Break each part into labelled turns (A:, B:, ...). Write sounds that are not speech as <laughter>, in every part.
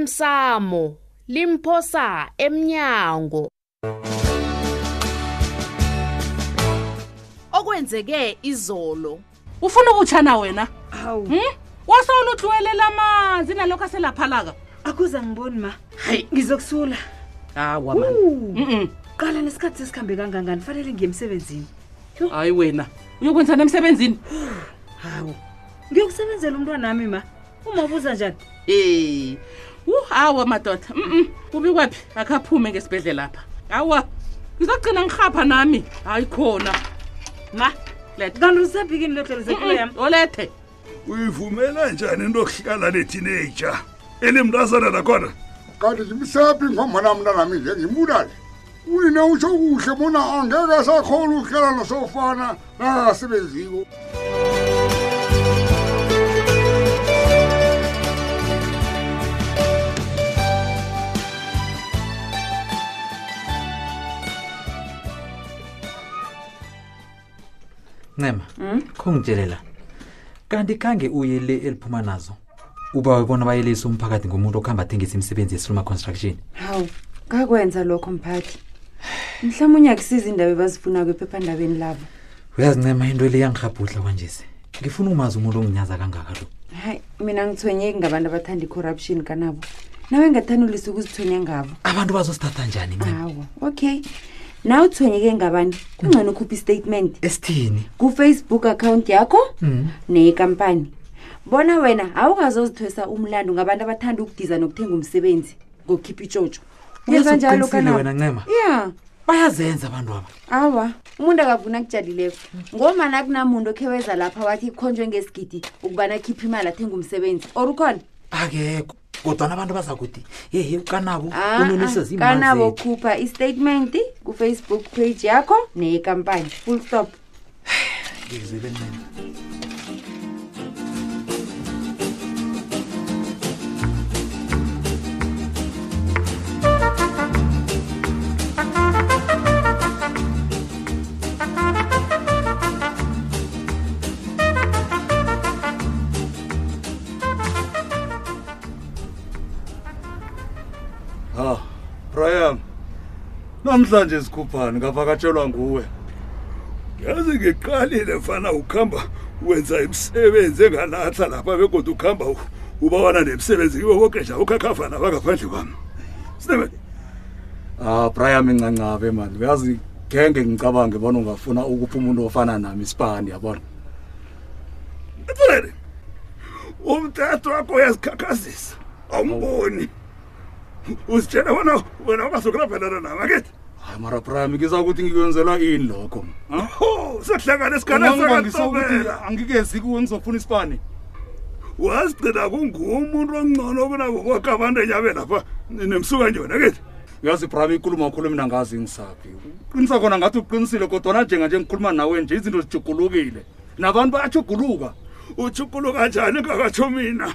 A: osemsamo limphosa emnyango okwenzeke izolo
B: ufuna ukutshana wena
C: hawu
B: hm? wasona utluwelela amanzi nalokho aselaphalaka
C: akuza ngiboni ma hayi ngizokusula
B: hawa
C: Wu,
B: Mm-mm.
C: qala nesikhathi sesikhambe kangangani fanele ngiye emsebenzini
B: hayi wena uyokwenza nemsebenzini
C: hawu ngiyokusebenzela umntwana wami ma uma ubuza njani
B: e hawa madoda mm ubi kwaphi akaphume ngesibhedlela apha hawa ngizogcina ngirhapha nami hayi khona
C: ma
B: Leta.
C: kanti usephikini lodlelo zempilo yami
B: olethe
D: uyivumela njani into yokuhlala nethineja elimntazana nakhona
E: kanti zimsephi ngomana mntanami nje ngimbulale unine utsho kuhle bona angeke asakhona ukuhlala nosofana nakasebenziko
F: ncema
G: Hmm?
F: khongitshele la kanti khange uye le eliphuma nazo uba webona bayelisa umphakathi ngomuntu okuhamba athengisa imisebenzi yesiluma construction
G: hawu ngakwenza lokho mphathi mhlawumbe unyakusiza indaba ebazifunako ephephandabeni labo
F: uyazincema into le yangihabhudla kwanjesi ngifuna umazi umuntu onginyaza kangaka lo
G: hayi mina ngithonyeki ngabantu abathanda i-corruption kanabo nawe ngathanulisa ukuzithonya ngabo
F: abantu bazosithatha njani ncema
G: hawa okay nawe uthonyeke ngabantu kungcono ukhupha istatement
F: esithini
G: kufacebook account yakho
F: Mm.
G: neyekampani bona wena awukazozithwesa umlando ngabantu abathanda ukudiza nokuthenga umsebenzi ngokukhipha itshotsho yenza njalo
F: Uyazi uqinisile
G: kanabo
F: wena ncema
G: ya
F: bayazenza abantu aba
G: awa umuntu akavuna kujalileko ngomana kunamuntu okhe weza lapha wathi khonjwe ngesigidi ukubana akhiphe imali athenga umsebenzi or ukhona
F: akekho kodwana abantu bazakuthi yehe ukanabo
G: Ah, ah, kanabo khupha istatement kufacebook page yakho neyekampani full stop
D: ha brian namhlanje sikhuphani ngavakatshelwa nguwe yazi ngiqalile fana ukuhamba wenza imisebenzi enganatha lapha begodwa ukuhamba u- ubawana nemisebenzi kiwo wonke nje ukhakhafana bangaphandle kwami sinebe
E: ah brian incancabe mani uyazi ngenge ngicabange bona ungafuna ukupha umuntu ofana nami isipani yabona
D: Mfulele. Umthetho wakho uyazikhakhazisa. Awumboni. Usitshela wena wena ungazokurabhelana nawe akithi.
E: hayi mara brian ngiza ukuthi ngikwenzelwa ini lokho
D: Ho, sekuhlangana isikhala
E: Kananga ngisokuthi
D: sakatobela.
E: angikezi kuwe ngizofuna isipani
D: Wasigcina kungumuntu ongcono kunabo bonke abantu enyabe lapha nemsuka nje wena akithi.
E: uyazi brian inkulumo kakhulu mina ngazi ngisaphi uqinisa khona ngathi uqinisile kodwana njenganje ngikhuluma nawe nje izinto zijugulukile nabantu bayajuguluka
D: Uchukulu kanjani ngakatsho mina?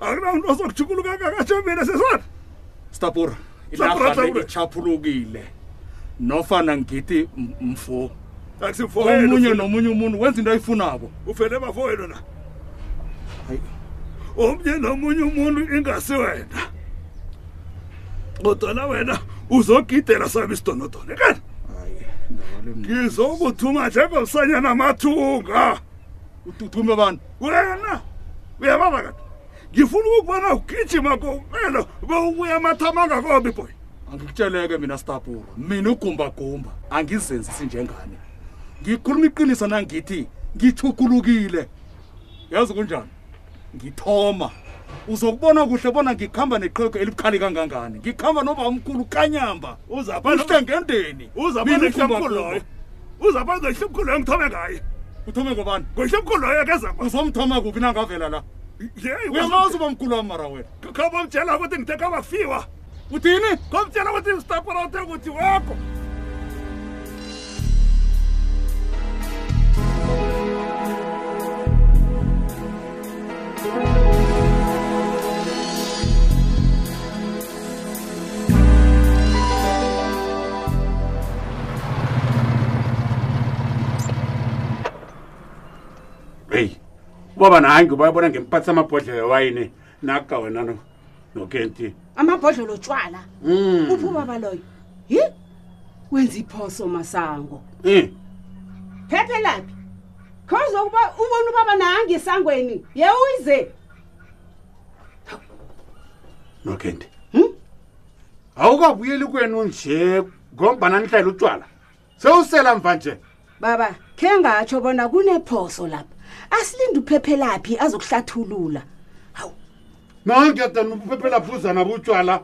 D: Akunamuntu ozokujukuluka ngakatsho mina sesona.
E: stapura
D: Stapura,
E: inarha le
D: Stapura.
E: ichaphulukile nofana ngithi m- mfo
D: Akusifoyela.
E: omunye nomunye umuntu wenza into ayifunako
D: ufele bafoyelo na.
E: Hayi.
D: omnye nomunye umuntu ingasi wena kodwana wena uzogidela sami isidonodono kanti ngizokuthuma njengomsanyana amathunga
E: uthuthume abantu
D: wena uyababa kanti ngifuna ukukubona ugijima kokumelo bewubuya amathama angakombi boy
E: angikutsheleke mina stapura mina ugumbagumba angizenzisi njengani ngikhuluma iqiniso nangithi ngithukulukile yazi kunjani ngithoma uzokubona kuhle bona ngikhamba neqhego elibukhali kangangani ngikhamba noba umkhulu kanyamba uhlengendeni
D: uzabana ihlomkhulu loyo uzabana ihlomkhulu loyo ngithome ngaye
E: uthume ngobani
D: ngohlomkhulu loyo kezaba
E: uzomthoma kuphi nangavela la uyamazi uba mkhulu wami mara wena
D: khaba mtshela ukuthi ngitheka bafiwa
E: uthini
D: komtshela ukuthi ustapora uthe ukuthi wakho
H: heyi ubaba nange ubayibona ngemphathi samabhodlela wayini naga wena no
D: nokenti
G: amabhodlelo tshwala uphuma baloyo hi wenza iphoso masango
H: Eh,
D: um
G: phephe laphi khoza ukuba ubona ubaba nange esangweni yewuyize
D: nokenti awukabuyeli kwenu nje ngombana nihlayela utshwala sewusela mva nje
G: baba khe ngatsho bona kunephoso lapha asilinde uphephe laphi azokuhlathulula
D: nonke tani uphephelapuzana butshwala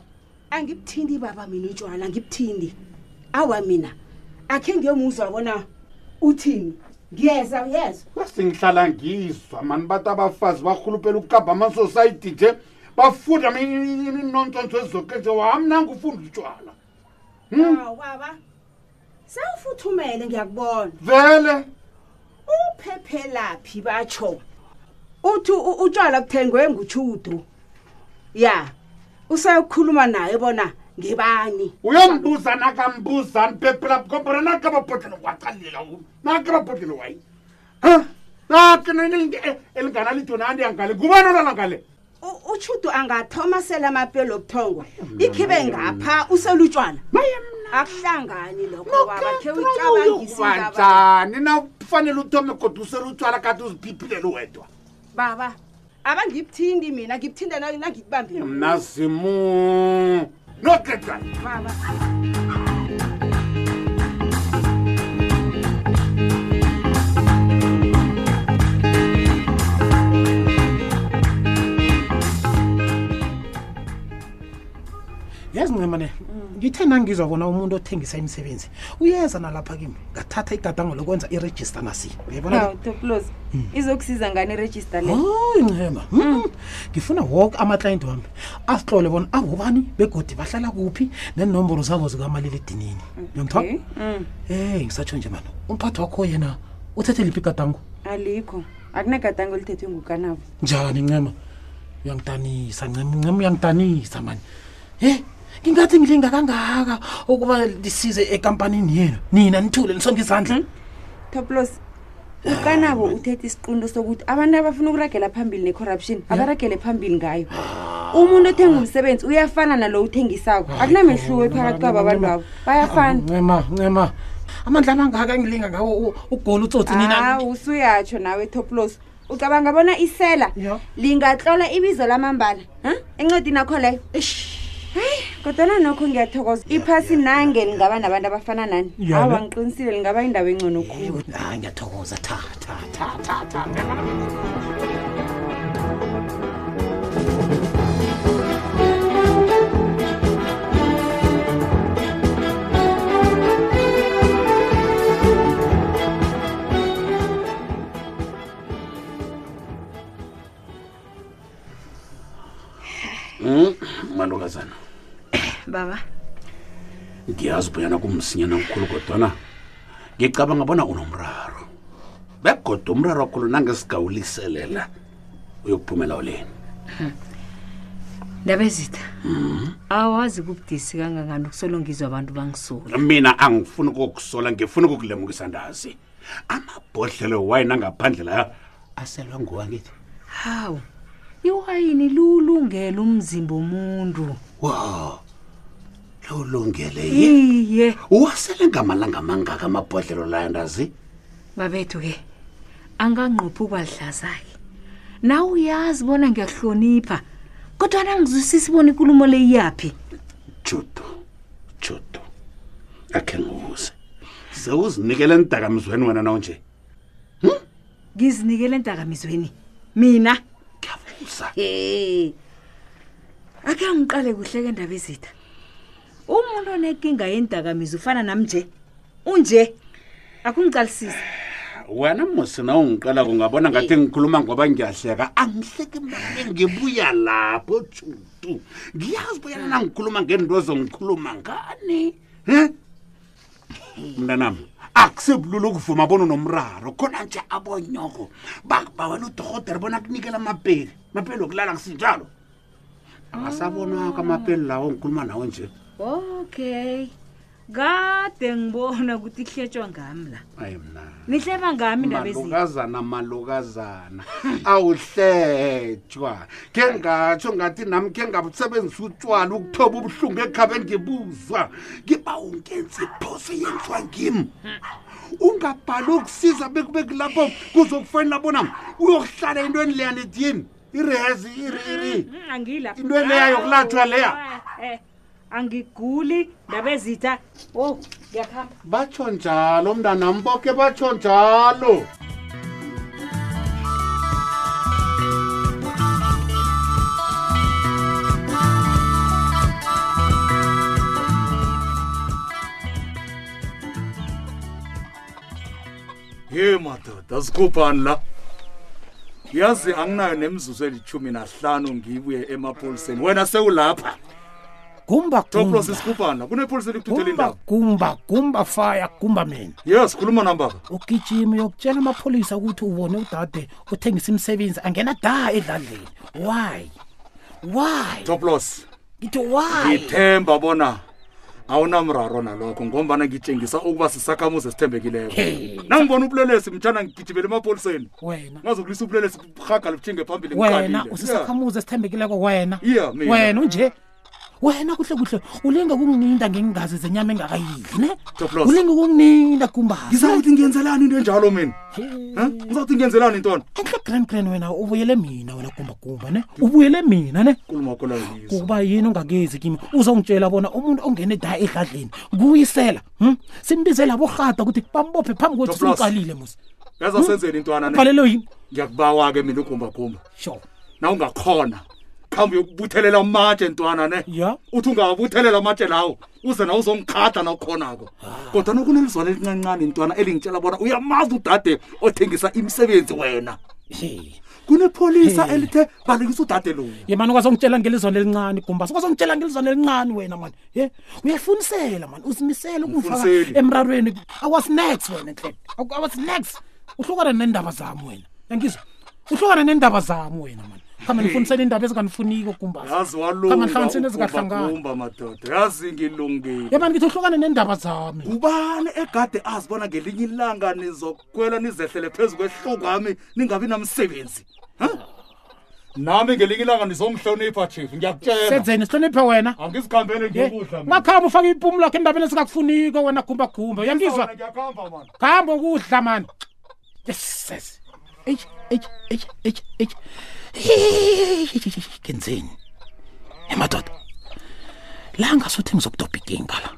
G: angibuthinti baba mina utshwala ngibuthinti awa mina akhe ngiyomuzwa bona uthini ngiyeza uyeza
D: wesingihlala ngizwa mani bathi abafazi barhuluphela ukukaba amasosayiti nje bafunda inontsontso ezoke nje wamnanga ufunda utshwala
G: awu baba sewufuthumele ngiyakubona
D: vele
G: uphephelaphi batsho uthi u- utshwala kuthengwe ngutshudu ya usayokhuluma naye bona ngibani
D: uyombuza nakambuzani phephelapho kombona naka babhodlelo wacalila naka babhodlelo wayi nake elinganalitonandiyangale eh, ngubani olalangale
G: U- utshudu angathoma sela amapelo obuthongo ikhibe ngapha uselutshwala akuhlangani lokho baba khe uyicabangisibaba
D: uyokubanjani na Ah, kufanele uthome kodwa uselutshwala kade uziphiphilele wedwa
G: baba abangibuthinti mina ngibuthinta na- nangikubambile
D: mna zimu nokeqa
G: baba
B: yazi ncemane ngithe nangizwa bona umuntu othengisa imisebenzi uyeza nalapha kimi ngathatha igadango lokwenza irejista nasi uyayibona
G: toklos izokusiza ngani irejista le
B: hayi ncema Mm, ngifuna woke amaklayenti wami asihlole bona abobani begodi bahlala kuphi nenomboro zabo zikamaliledinini uyangithiwa
G: Okay, mm.
B: ey ngisatsho nje mani umphathi wakho yena uthethe liphi igadango
G: alikho akunegadango elithethwe ngukanabo
B: njani ncema uyangidanisa ncema ncema uyangidanisa mani he ngingathi ngilinga kangaka ukuba lisize ekampanini yenu nina nithule nisonke izandla
G: Hmm?
B: Ah,
G: toplos ukanabo uthethe isiqundo sokuthi abantu abafuna ukuragela phambili ne-corruption abaragele phambili ngayo
B: Ah,
G: umuntu othenga umsebenzi uyafana nalo uthengisako akunamehluko phakathi kwabo abantu babo bayafana
B: ncema ncema amandla amangaka ngilinga ngawo u- ugoli utsotsi nina
G: hawu Ah, usuyatsho nawe toplos ucabanga bona isela
B: Ya.
G: lingatlola ibizo lamambala ha? encwadini akho leyo hayi kodwana nokho ngiyathokoza iphasi nange lingaba nabantu abafana nani
B: Ya,
G: awa
B: ne.
G: ngiqinisile lingaba indawo engcono khulu
B: hayi ngiyathokoza tha tha tha tha tha
D: mantombazana
G: baba
D: ngiyazi bonyana kumsinyana mkhulu kodwana ngicabanga bona unomraro begoda umraro wakhulu nangesigawuliselela uyokuphumela uleni
C: ndabezitha awazi kubudisi kangangani ukusolo ngizwa abantu bangisula
D: mina angifuni ukukusola ngifuna ukukulemukisa ndazi amabhodlelo wayini angaphandle la aselwa ngowangithi
C: hawu iwayini liwulungele umzimba womuntu
D: wo lolungele ye
C: iye
D: uwasele ngamalanga amangaka amabhodlelo layo ndazi
C: babethu-ke anganqophi ukwadlaza-ke nawe uyazi bona ngiyahlonipha kodwa nangizwisisi bona ikulumo le iyaphi
D: judo judo akhe ngibuze sewuzinikele enidakamizweni wena nawo nje
C: ngizinikele entakamizweni mina
D: ngiyabuza
C: Eh. Ake ngiqale kuhle ke indaba ezitha. Umuntu onenkinga yendakamizi ufana nami nje. Unje. Akungiqalisisi.
D: wena musi na ungiqela kungabona ngathi ngikhuluma ngoba ngiyahleka angihleki mane ngibuya lapho judu ngiyazi bonyana nangikhuluma ngento zongikhuluma ngani um mntanami akusebulula ukuvuma bona unomraro khona nje abonyoko bakubawela udorhotere bona kunikela amapeli amapeli wokulala kusinjalo angasabonwako amapeli lawo ngikhuluma nawo nje
C: Okay. kade ngibona ukuthi kuhletshwa ngami la
E: ayi mna
C: nihleba ngami indaba ezinye
E: malukazana malukazana awuhletshwa khe ngatsho ngathi nami khe ngabusebenzisa utshwala ukuthoba ubuhlungu ekhabeni ngibuzwa ngiba ungenza iphoso yenziwa ngimi ungabhali ukusiza bekube kulapho kuzokufanela bona uyokuhlala into enileyanediyeni irezi iri iri
C: Mm, angila
E: Into eleya yokulatjhwa leya.
C: Eh, eh, angiguli Oh, ndaba ezitha o ngiyakuhamba
E: batsho njalo mntanam boke batsho njalo
D: ye madoda sikhuphani la yazi anginayo nemzuzu elithumi nahlanu ngibuye emapoliseni wena sewulapha
F: gumba
D: toplos sikhuphani la kunepolisi elikuthuthela
F: gumba
D: indaba
F: gumba gumba fire gumba mina
D: yes khuluma nami baba
F: ugijime uyokutshela amapholisa ukuthi ubone udade uthengisa imisebenzi angena da edladleni why why
D: toplos
F: ngithi why
D: ngithemba bona awunamraro nalokho ngombana ngitshengisa ukuba sisakhamuzi esithembekileko nangibona ubulelesi mtshana ngigijimela emapoliseni
F: wena
D: ngazokulisa ubulelesi buhaga lubuthinge phambili
F: wena
D: ngiqalile.
F: usisakhamuzi esithembekileko wena
D: Yeah, mina.
F: wena unje wena kuhle kuhle ulinga ukungininda ngengazi zenyama engakayidli ne
D: Toplos.
F: ulinga ukungininda
D: Yeah.
F: kumbazi
D: ngizawuthi ngiyenzelani into enjalo mina Eh? ngizawuthi ngiyenzelani intona
F: enhle grand grand wena ubuyele mina wena gumbagumba ne ubuyele mina ne
D: kulumakolangizwa
F: kuba yini ungakezi kimi uzongitshela bona umuntu ongene da edladleni kuyisela hm? simbizela borhada ukuthi bambophe phambi kwethu
D: Toplos.
F: simqalile musa
D: yaza senzeni intwana ne
F: palelo yini
D: ngiyakubawa-ke mina ugumbagumba
F: sure
D: na ungakhona khambe uyokubuthelela amatshe ntwana ne
F: ya
D: uthi ungawabuthelela amatshe lawo uze nawe uzongikhada nawukhonako kodwa nokunelizwane elincancane intwana elingitshela bona uyamazi udade othengisa imisebenzi wena
F: Hey.
D: kunepholisa
F: Hey.
D: elithe balekisa udade lowo
F: ye mani ukazongitshela ngelizwane elincane gumbasi ukazongitshela ngelizwane elincane wena mani ye uyafunisela mani uzimisele ukungifaka
D: Ngifuniseli.
F: emrarweni awasinex wena nhle awasinex uhlukana neendaba zami wena yangizwa uhlukana neendaba zami wena mani khambe nifunisele iindaba ezinganifuniko gumbasi
D: yazi
F: Khambe
D: walunga
F: nihlanganiseni ezingahlangani.
D: uGumbagumba, madoda yazi ngilungile
F: ye mani ngithi uhlukane neendaba zami
D: ubani egade azibona ngelinye ilanga nizokwela nizehlele phezu kwehlungami ningabi namsebenzi Ha? nami ngelinye ilanga nizongihlonipha chief ngiyakutshela
F: senzeni sihloniphe wena
D: angizikhambele
F: Ye,
D: ngiyokudla mina.
F: ungakhamba ufake ipumu lakho endabeni esingakufuniyo wena gumbagumba uyangizwa
D: Sawona, ngiyakuhamba mani
F: khamba ukudla mani yes yes. eish eish eish eish eish <laughs> Eish, kenzeni emadoda la ngasuthi ngizokudobha ikinga la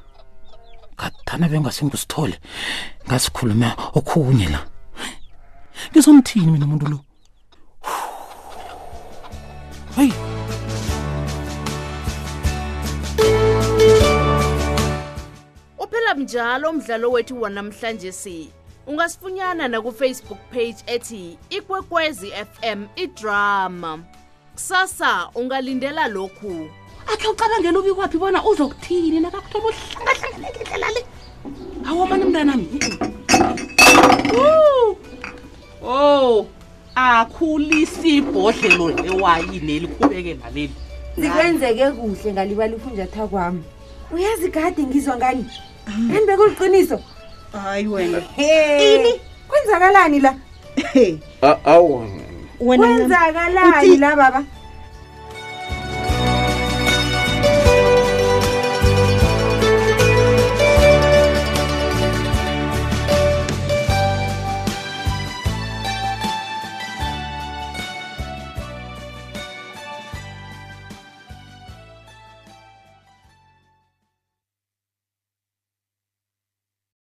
F: ngadana bengase ngikusithole ngasikhuluma okhunye la ngizomthini mina umuntu lo hayi
A: Uphela njalo umdlalo wethu wanamhlanje si. Ungasifunyana na ku Facebook page ethi Ikwekwezi FM iDrama. Sasa ungalindela lokhu.
G: akhe ucabangela ubi kwaphi bona uzokuthini nakakuthola uhlangahlanganekindlela le awu mani mntanami
B: o akhulisi ibhodlelo lewayini elikhubekela leli
G: sikwenzeke kuhle ngalibali ufunjatha kwami uyazi kade ngizwa ngani ani bekuliqiniso
C: hayi wena
G: ini kwenzakalani la
E: awu
G: kwenzakalani la baba